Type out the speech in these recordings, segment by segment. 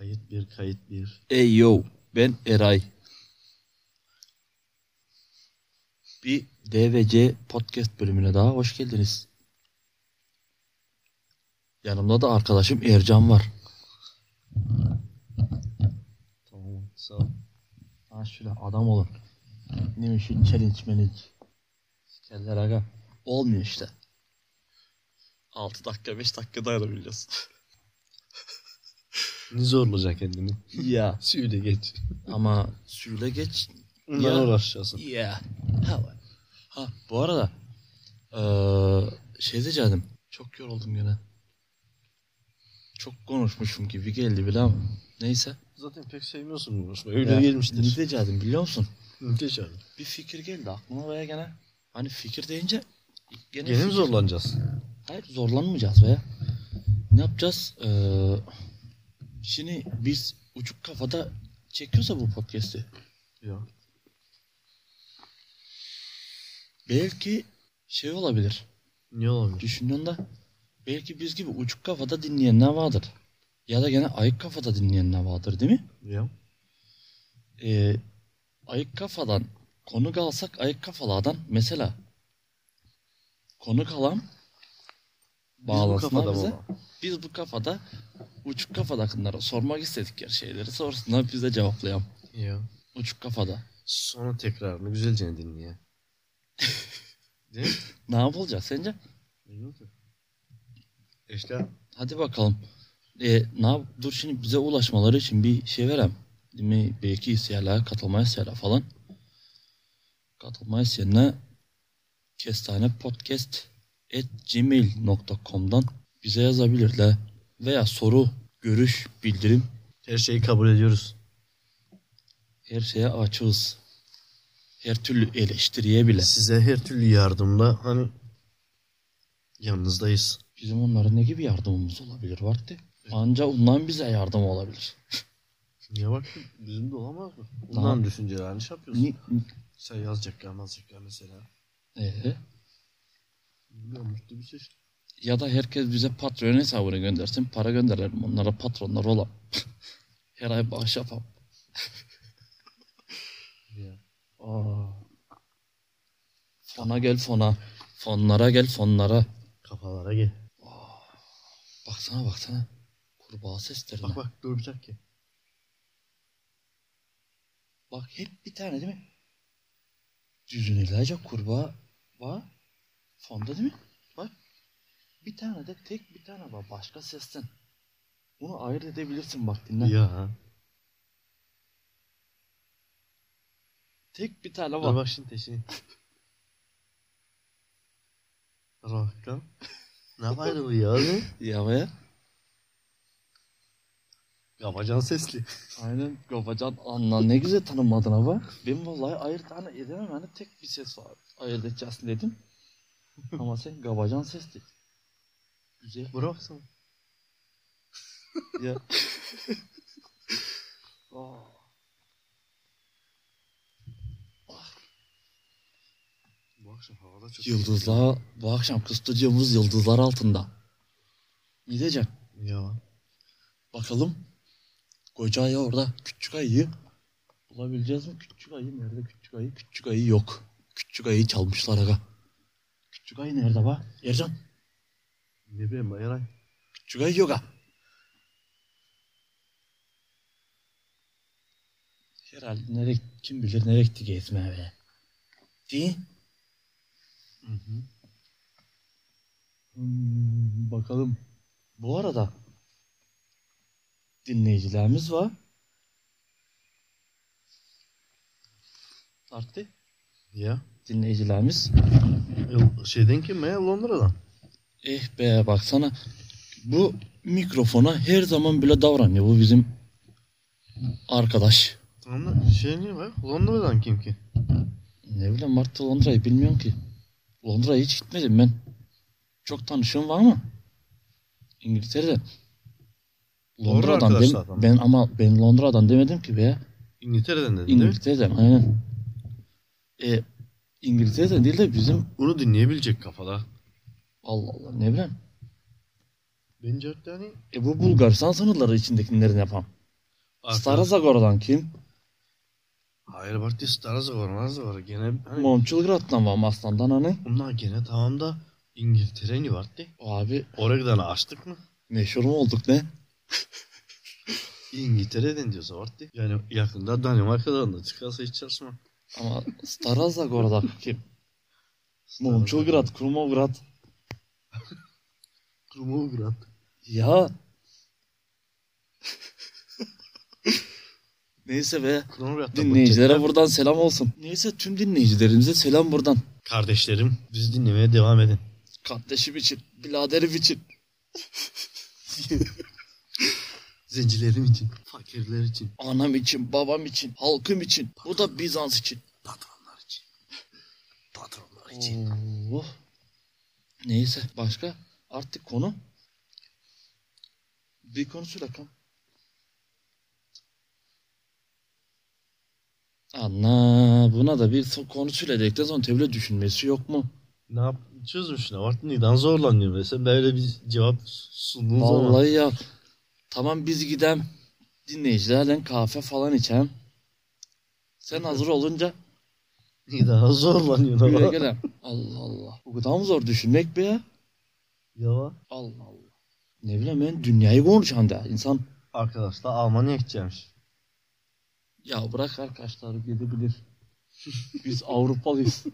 Bir kayıt bir. Ey yo ben Eray. Bir DVC podcast bölümüne daha hoş geldiniz. Yanımda da arkadaşım Ercan var. Tamam sağ ol. Ha şöyle adam olun. Ne işin challenge manage. Sikerler aga. Olmuyor işte. 6 dakika 5 dakika dayanabileceğiz. Ne zorlayacak kendini. ya Suyu da geç. ama suyla geç. Bundan Ya. uğraşacaksın. Ya. Ha, var. ha bu arada eee şey diyeceğim. Çok yoruldum gene. Çok konuşmuşum gibi geldi bile ama. Neyse. Zaten pek sevmiyorsun bu konuşmayı. Öyle Ya, Ne gelmiştir. diyecektim biliyor musun? Geç abi. Bir fikir geldi aklıma veya gene. Hani fikir deyince gene, Gene mi fikir- zorlanacağız? Hayır zorlanmayacağız veya. Ne yapacağız? Eee şimdi biz uçuk kafada çekiyorsa bu podcast'i. Yok. Belki şey olabilir. Niye olabilir? Düşündüğünde belki biz gibi uçuk kafada dinleyenler vardır. Ya da gene ayık kafada dinleyenler vardır değil mi? Ya. Ee, ayık kafadan konuk alsak ayık kafalardan mesela konuk alan bağlansınlar bize. Biz bu kafada uçuk kafadakınlara sormak istedikleri şeyleri sorsunlar biz de cevaplayalım. Ya. Uçuk kafada. Sonra tekrarını güzelce dinle ya. Değil mi? Ne yapılacak sence? Ne oldu? İşte Hadi bakalım. Ee, ne yap- Dur şimdi bize ulaşmaları için bir şey verem. Değil mi? Belki isteyenler, katılma isteyenler falan. Katılma isteyenler kestanepodcast.gmail.com'dan bize yazabilirler. Veya soru, görüş, bildirim her şeyi kabul ediyoruz. her şeye açığız. Her türlü eleştiriye bile. Size her türlü yardımla hani yanınızdayız. Bizim onlara ne gibi yardımımız olabilir vardı? Anca ondan bize yardım olabilir. Niye bak bizim de olamaz mı? Tamam. Ulan düşüncelerini şey yapıyorsun. Ni- ni- Sen yazacak ya yazacak ya mesela. Ee? Bilmiyorum mutlu bir şey. işte. Ya da herkes bize Patreon hesabını göndersin. Para gönderelim onlara patronlar olalım. Her ay bağış yapalım. Ya. Aa. Fona gel fona. Fonlara gel fonlara. Kafalara gel. Baksana baksana. Kurbağa seslerine. Bak Bak, bak duracak ki. hep bir tane değil mi? Düzünlerce kurbağa var. Fonda değil mi? Bak. Bir tane de tek bir tane var. Başka sesten. Bunu ayırt edebilirsin bak dinle. Ya. Tek bir tane Dur var. bak şimdi teşini. Dur bak lan. Ne ayrılıyor ya? Ya be. Yabacan sesli. Aynen Gabacan anla ne güzel tanımladın ama. Ben vallahi ayırt tane edemem hani tek bir ses var. Ayırt edeceksin dedim. ama sen Gabacan ses dedin. Güzel Bırak sen. ya. Ah. Aa. Bu akşam havada çok Yıldızlar bu akşam kıstacığımız yıldızlar altında. Gideceğim. Ya. Bakalım. Koca ayı orada. Küçük ayıyı bulabileceğiz mi? Küçük ayı nerede? Küçük ayı. Küçük ayı yok. Küçük ayıyı çalmışlar aga. Küçük ayı nerede bak? Ercan. Ne bileyim ben Eray. Küçük ayı yok ha. Herhalde nereye, kim bilir nereye gitti gezmeye be. Değil. Hı hı. Hmm, bakalım. Bu arada dinleyicilerimiz var. Arttı. Ya. Dinleyicilerimiz. Yıl- Şeyden kim ya? Londra'dan. Eh be baksana. Bu mikrofona her zaman böyle davranıyor. Bu bizim arkadaş. Tamam da şey niye var? Londra'dan kim ki? Ne bileyim Mart'ta Londra'yı bilmiyorum ki. Londra'ya hiç gitmedim ben. Çok tanışığım var mı? İngiltere'de. Londra'dan dem arkadaşlardan. ben ama ben Londra'dan demedim ki be. İngiltere'den dedin değil mi? İngiltere'den aynen. E, İngiltere'den değil de bizim Onu dinleyebilecek kafada. Allah Allah ne bileyim. Bence hatta hani E bu Bulgaristan sınırları içindekilerin yapam. Starazagor'dan kim? Hayır bak diye Staraz'a var. Maraz'a var. Gene hani, Momçilgrad'dan var Aslan'dan hani. bunlar gene tamam da İngiltere ni var diye. Abi Oregon'u açtık mı? meşhur mu olduk ne? İngiltere'den diyorsa var diye. Yani yakında Danimarka'dan da çıkarsa hiç çalışma. Ama Starazagor'da kim? Momçilgrad, Krumovgrad. Krumovgrad. Ya. Neyse be. Krumovgrad'da Dinleyicilere buradan selam olsun. Neyse tüm dinleyicilerimize selam buradan. Kardeşlerim biz dinlemeye devam edin. Kardeşim için, biraderim için. Zencilerim için, fakirler için, Anam için, babam için, halkım için. Bu da Bizans için. patronlar için. Patronlar için. Oh. Neyse başka artık konu. Bir konusu rakam. Anna buna da bir so- konusuyla dedikten sonra tebrik düşünmesi yok mu? Ne yap? Çözmüş ne var? Neden zorlanıyor mesela? Böyle bir cevap sunduğun zaman. Vallahi ya tamam biz gidem dinleyicilerle kahve falan içem. Sen hazır olunca Neden zorlanıyor buraya ama. gelem. Allah Allah. Bu kadar mı zor düşünmek be ya? Ya Allah Allah. Ne bileyim ben dünyayı konuşan da insan arkadaşlar Almanya gideceğimiş. Ya bırak arkadaşlar gidebilir. Biz Avrupalıyız.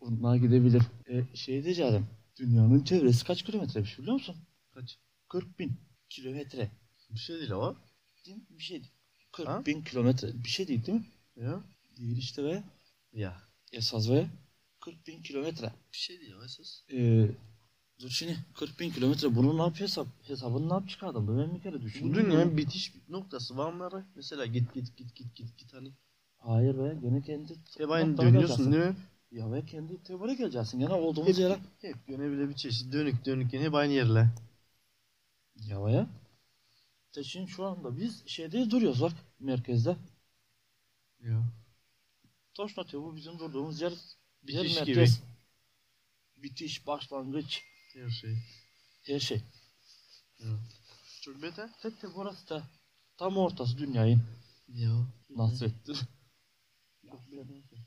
Bunlar gidebilir. E, şey diyeceğim. Dünyanın çevresi kaç kilometremiş biliyor musun? Kaç? 40 bin kilometre. Bir şey değil ama. Değil mi? Bir şey değil. 40 Ha? bin kilometre. Bir şey değil değil mi? Ya. Değil işte be. Ya. Esas be. 40 bin kilometre. Bir şey değil ama esas. E, dur şimdi 40 bin kilometre. Bunu ne yapıyor hesap? Hesabını ne yap çıkardım? Ben bir kere Bu düşündüm. dünyanın bitiş noktası var mı? ara? Mesela git git git git git git hani. Hayır be. Gene kendi... Hep aynı Noktalara dönüyorsun geleceksin. değil mi? Ya be kendi tebara geleceksin. Gene olduğumuz yere. Hep gene bile bir çeşit dönük dönük gene hep aynı yerle. Yavaya. Teşin şu anda biz şeyde duruyoruz bak merkezde. Ya. Taş atıyor bu bizim durduğumuz yer. Bir yer Bitiş merkez. gibi. Bitiş, başlangıç, Her şey. her şey. Çok beter. Tek tek orası da tam ortası dünyayı. Ya. Nasrettin.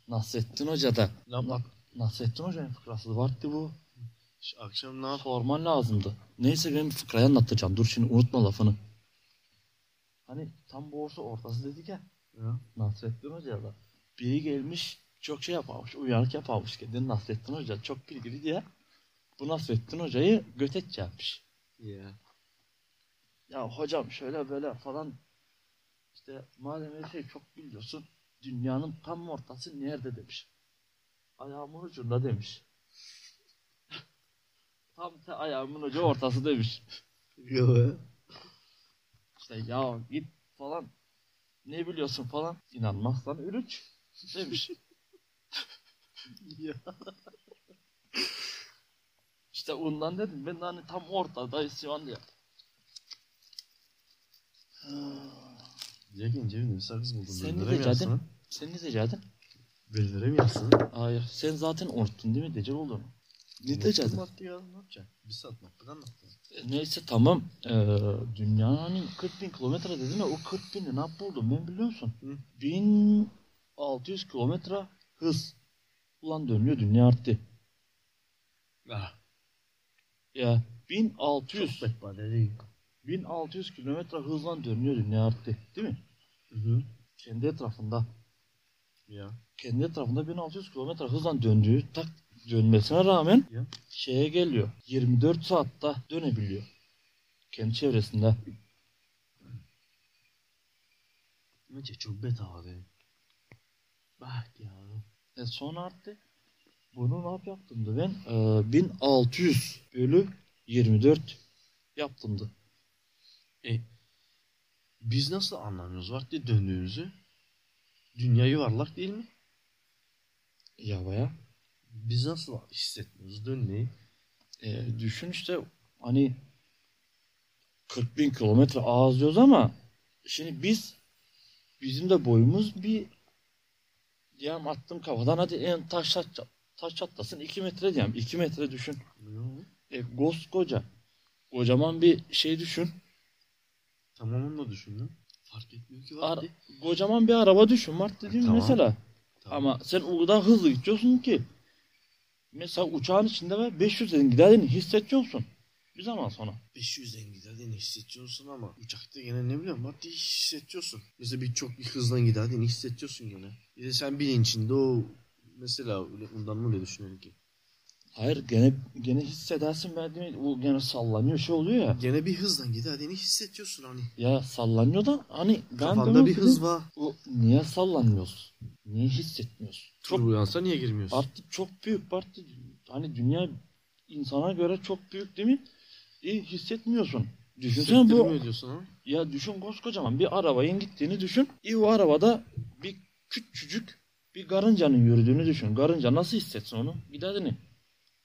Nasrettin Hoca da. Ne yapmak? Nasrettin Hoca'nın fıkrası vardı bu. Şu Akşam ne yap? Sorman lazımdı. Neyse ben fıkrayı anlatacağım. Dur şimdi unutma lafını. Hani tam bu orta ortası dedik ya. Ya. Nasrettin Hoca da biri gelmiş çok şey yaparmış, uyarık yaparmış kendini Nasrettin Hoca çok bilgili diye bu Nasrettin Hoca'yı götet yapmış. Ya. Ya hocam şöyle böyle falan işte madem her şeyi çok biliyorsun dünyanın tam ortası nerede demiş. Ayağımın ucunda demiş. tam te ayağımın ucu ortası demiş. Ya. İşte ya git falan ne biliyorsun falan inanmazsan ürüç demiş. Ya. İşte ondan dedim ben de hani tam ortadayız şu an diye. Jack'in cebinde bir sakız buldum. Sen Sen ne mi diyecektin? yazsın? Sen ne diyecektin? Belirlere mi yazsın? Hayır. Sen zaten unuttun değil mi? Decel olduğunu. Ne diyecektin? Maddi ya ne yapacaksın? Bir saat noktadan noktadan. Neyse tamam. Ee, dünyanın hani 40 bin kilometre dedim ya o 40 bini ne buldum ben biliyor musun? Hı. 1600 kilometre hız. Ulan dönüyor dünya arttı. Ah. Ya 1600. Çok bade değil. 1600 kilometre hızla dönüyor dünya arttı. Değil mi? Hı hı. Kendi etrafında. Ya. kendi etrafında 1600 kilometre hızla döndüğü tak dönmesine rağmen Ya. şeye geliyor. 24 saatte dönebiliyor. Kendi çevresinde. Bence çok bet abi. Bak ya. E son arttı. Bunu ne yap yaptımdı ben? Ee, 1600 bölü 24 yaptımdı. Biz nasıl anlamıyoruz vakti döndüğümüzü? Dünya yuvarlak değil mi? Ya baya. Biz nasıl hissetmiyoruz dönmeyi? E, düşün işte hani 40 bin kilometre ağız diyoruz ama şimdi biz bizim de boyumuz bir diyelim attım kafadan hadi en taş taş, taş çatlasın 2 metre diyelim 2 metre düşün. Yo. E, koskoca kocaman bir şey düşün. Tamamını da düşündüm. Fark etmiyor ki Ara- vakti. Kocaman bir araba düşün Mart dediğim Tamam. mesela. Tamam. Ama sen o kadar hızlı gidiyorsun ki. Mesela uçağın içinde ve 500 dedin giderdiğini hissediyorsun. Bir zaman sonra. 500'den giderdiğini hissediyorsun ama uçakta gene ne bileyim maddi hissediyorsun. Mesela bir çok bir hızdan giderdiğini hissediyorsun gene. Bir de sen bilincinde o mesela öyle ondan mı öyle düşünüyorsun ki? Hayır gene gene hissedersin ben değil mi? O gene sallanıyor şey oluyor ya. Gene bir hızdan giderdiğini hissediyorsun hani. Ya sallanıyor da hani ben Kafanda diyorum bir ki, hız var. O niye sallanmıyoruz? Niye hissetmiyoruz? Çok Turbulansa niye girmiyorsun? artık çok büyük parti hani dünya insana göre çok büyük değil mi? İyi hissetmiyorsun. Düşünsene bu Hissettirmiyor diyorsun ama. Ya düşün koskocaman bir arabayın gittiğini düşün. İyi o arabada bir küçücük bir garıncanın yürüdüğünü düşün. Garınca nasıl hissetsin onu? Giderdiğini.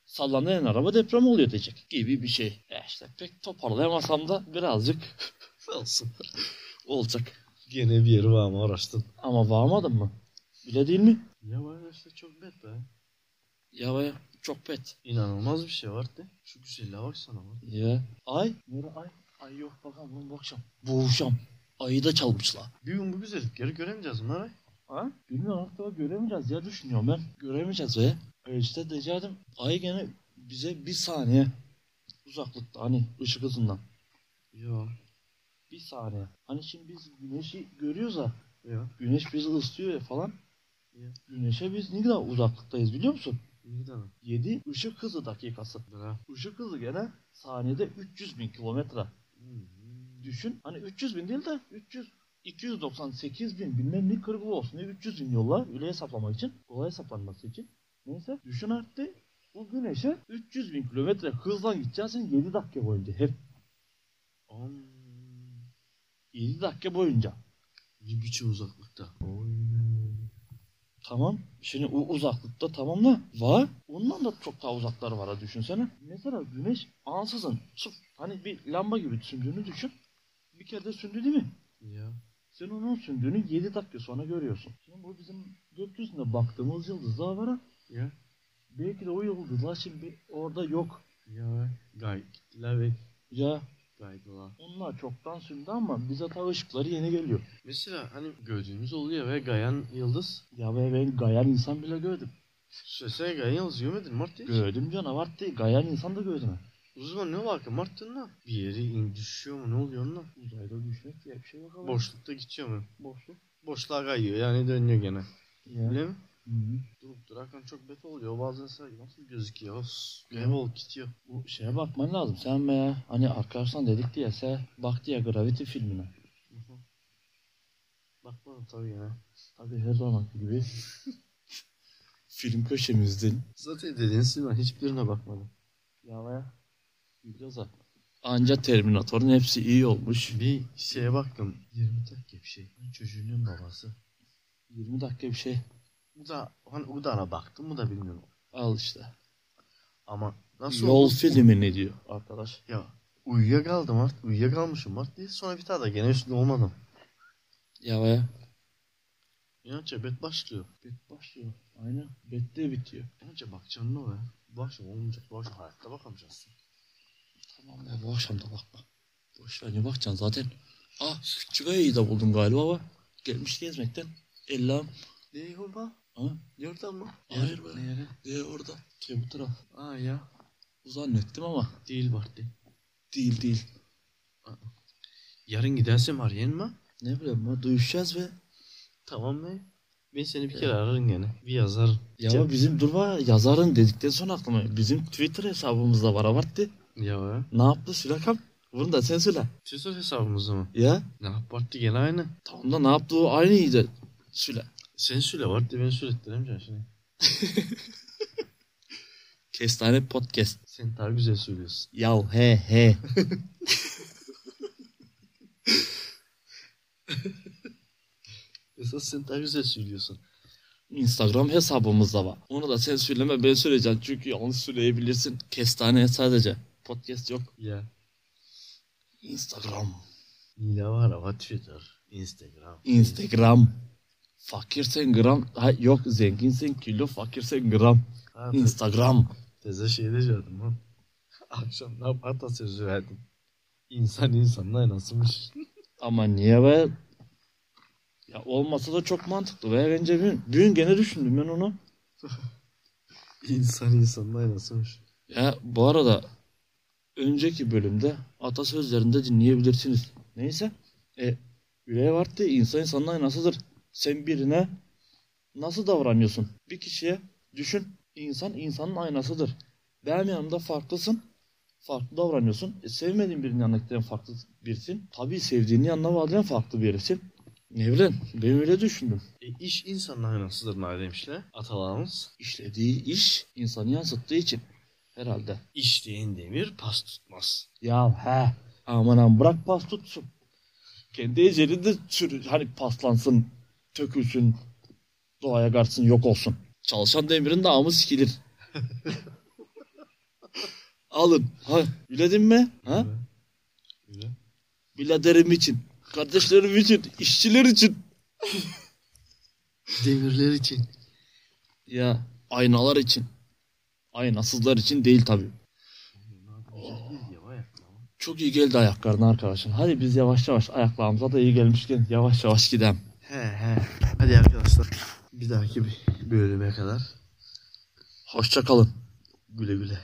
Sallanan araba deprem oluyor diyecek gibi bir şey. E işte pek toparlayamasam da birazcık Olsun. olacak. Gene bir yeri var ama araştın. Ama varmadın mı? Bile değil mi? Ya var işte çok bet be. Ya baya çok pet. İnanılmaz bir şey var de. Şu güzelliğe baksana bak. Ya. Ay. Nere ay? Ay yok bakalım bunu bakacağım. Boğuşam. Ayı da çalmışlar. Bir gün bu güzellikleri göremeyeceğiz mi lan? Ha? Bilmiyorum hatta göremeyeceğiz ya düşünüyorum ben. Göremeyeceğiz be. E işte rica ederim. Ay gene bize bir saniye uzaklıkta hani ışık hızından. Yok. Bir saniye. Hani şimdi biz güneşi görüyoruz ya. Yok. Güneş bizi ısıtıyor ya falan. Ya. Güneşe biz ne kadar uzaklıktayız biliyor musun? Bir tane. 7 ışık hızı dakikası. Bana. Işık hızı gene saniyede 300 bin kilometre. Hmm. Düşün hani 300 bin değil de 300 298 bin bilmem ne kırgılı olsun diye 300 bin yolla öyle hesaplamak için kolay hesaplanması için. Neyse düşün artık bu güneşe 300 bin kilometre hızla gideceksin 7 dakika boyunca hep Am. 7 dakika boyunca. Bir biçim uzaklıkta. Tamam. Şimdi o uzaklıkta tamam da var. Ondan da çok daha uzakları var ha düşünsene. Mesela güneş ansızın sıf, hani bir lamba gibi sündüğünü düşün. Bir kere de sündü değil mi? Ya. Sen onun sündüğünü 7 dakika sonra görüyorsun. Şimdi bu bizim gökyüzüne baktığımız yıldızlar var ha. Ya. Belki de o yıldızlar şimdi orada yok. Ya. Gay. Gittiler ve Ya gaydılar. onlar çoktan sündü ama bize ta ışıkları yeni geliyor. Mesela hani gördüğümüz oluyor ve gayan yıldız. Ya be ben gayan insan bile gördüm. Söylesene gayan yıldız görmedin mi Martin? Gördüm canavar değil. Gayan insan da gördüm. O zaman ne var ki Martin lan? Bir yeri in düşüyor mu ne oluyor lan? Uzayda düşmek diye bir şey yok ama. Boşlukta gidiyor mu? Boşluk. Boşluğa kayıyor yani dönüyor gene. Ya. Öyle mi? Hı hı. Durup durarken çok bet oluyor. Bazen sen nasıl gözüküyor? Of, Ya. Kaybol gidiyor. Bu şeye bakman lazım. Sen be hani arkadaşlar dedik diye sen bak diye Gravity filmine. Hı hı. Bakmadım tabii yani. Tabii her zaman gibi. Film köşemizden Zaten dediğiniz ben hiçbirine bakmadım. Yavaya. Biraz da. Anca Terminator'un hepsi iyi olmuş. Bir şeye baktım. 20 dakika bir şey. Çocuğunun babası. 20 dakika bir şey. Bu da hani bu da ana baktım bu da bilmiyorum. Al işte. Ama nasıl Yol oldu? filmi ne diyor arkadaş? Ya uyuyakaldım artık. Uyuyakalmışım artık diye. Sonra bir tane daha gene üstünde olmadım. Yavaya. İnanca bet başlıyor. Bet başlıyor. Aynen. Bet de bitiyor. İnanca bakacaksın ne o be? Bu akşam olmayacak. Bu akşam hayatta bakamayacaksın. Tamam ya bu akşam da bakma. Boş ver ne bakacaksın zaten. Ah küçük ayıyı da buldum galiba ama. Gelmiş gezmekten. Ellam. Ne orada? Ha? Yerden mı? Hayır be. Ne yere? E orada. Şey bu taraf. Aa ya. Zannettim ama. Değil Bartı. Değil değil. Yarın gidersem arayayım mı? Ne bileyim ben duyuşacağız ve. Tamam mı? Ben seni bir kere ararım gene. Bir yazarım. Ya Gel. bizim dur var ya, yazarın dedikten sonra aklıma. Bizim Twitter hesabımızda var abarttı. Ya be. Ne yaptı Sülakam? Bunu da sen söyle. Twitter hesabımızda mı? Ya. Ne yap Bartı gene aynı. Tamam da ne yaptığı aynıydı. Süle. Sen söyle Bartı ben söylettiremeyeceğim şimdi. Kestane Podcast. Sen daha güzel söylüyorsun. Yav he he. Esas sen daha güzel söylüyorsun. Instagram hesabımız da var. Onu da sen söyleme ben söyleyeceğim. Çünkü yanlış söyleyebilirsin. Kestane sadece. Podcast yok. Ya. Instagram. Nila var ama Twitter, Instagram. Instagram. Fakirsen gram. Ha, yok zenginsen kilo fakirsen gram. Ha, te- Instagram. teze şey diyecektim lan. Akşam ne yap atasözü verdim. İnsan insanın aynasıymış. Ama niye be? Ya olmasa da çok mantıklı. Ve bence bugün, bugün gene düşündüm ben onu. İnsan insanın aynası hoş. Ya bu arada önceki bölümde atasözlerinde dinleyebilirsiniz. Neyse. E, yüreğe var diye insan insanın aynasıdır. Sen birine nasıl davranıyorsun? Bir kişiye düşün. İnsan insanın aynasıdır. Benim yanımda farklısın. Farklı davranıyorsun. E, sevmediğin birinin yanındakilerin farklı birisin. Tabii sevdiğinin yanına vardiyan farklı birisin. Ne bileyim ben öyle düşündüm. E, iş insanın aynasıdır madem işte. Atalarımız. İşlediği iş insanı yansıttığı için herhalde. İşleyen demir pas tutmaz. Ya he. Aman aman bırak pas tutsun. Kendi eceli de sürü, hani paslansın, tökülsün, doğaya kaçsın, yok olsun. Çalışan demirin de amı sikilir. Alın. Ha, biledin mi? Ha? Öyle. Biladerim için, kardeşlerim için, işçiler için. Demirler için. Ya aynalar için. Aynasızlar için değil tabii. Güzel değil ya vay aklama. Çok iyi geldi ayaklarına arkadaşlar. Hadi biz yavaş yavaş ayaklarımıza da iyi gelmişken yavaş yavaş gidelim. He he. Hadi arkadaşlar. Bir dahaki bölüme kadar Hoşça kalın. güle güle.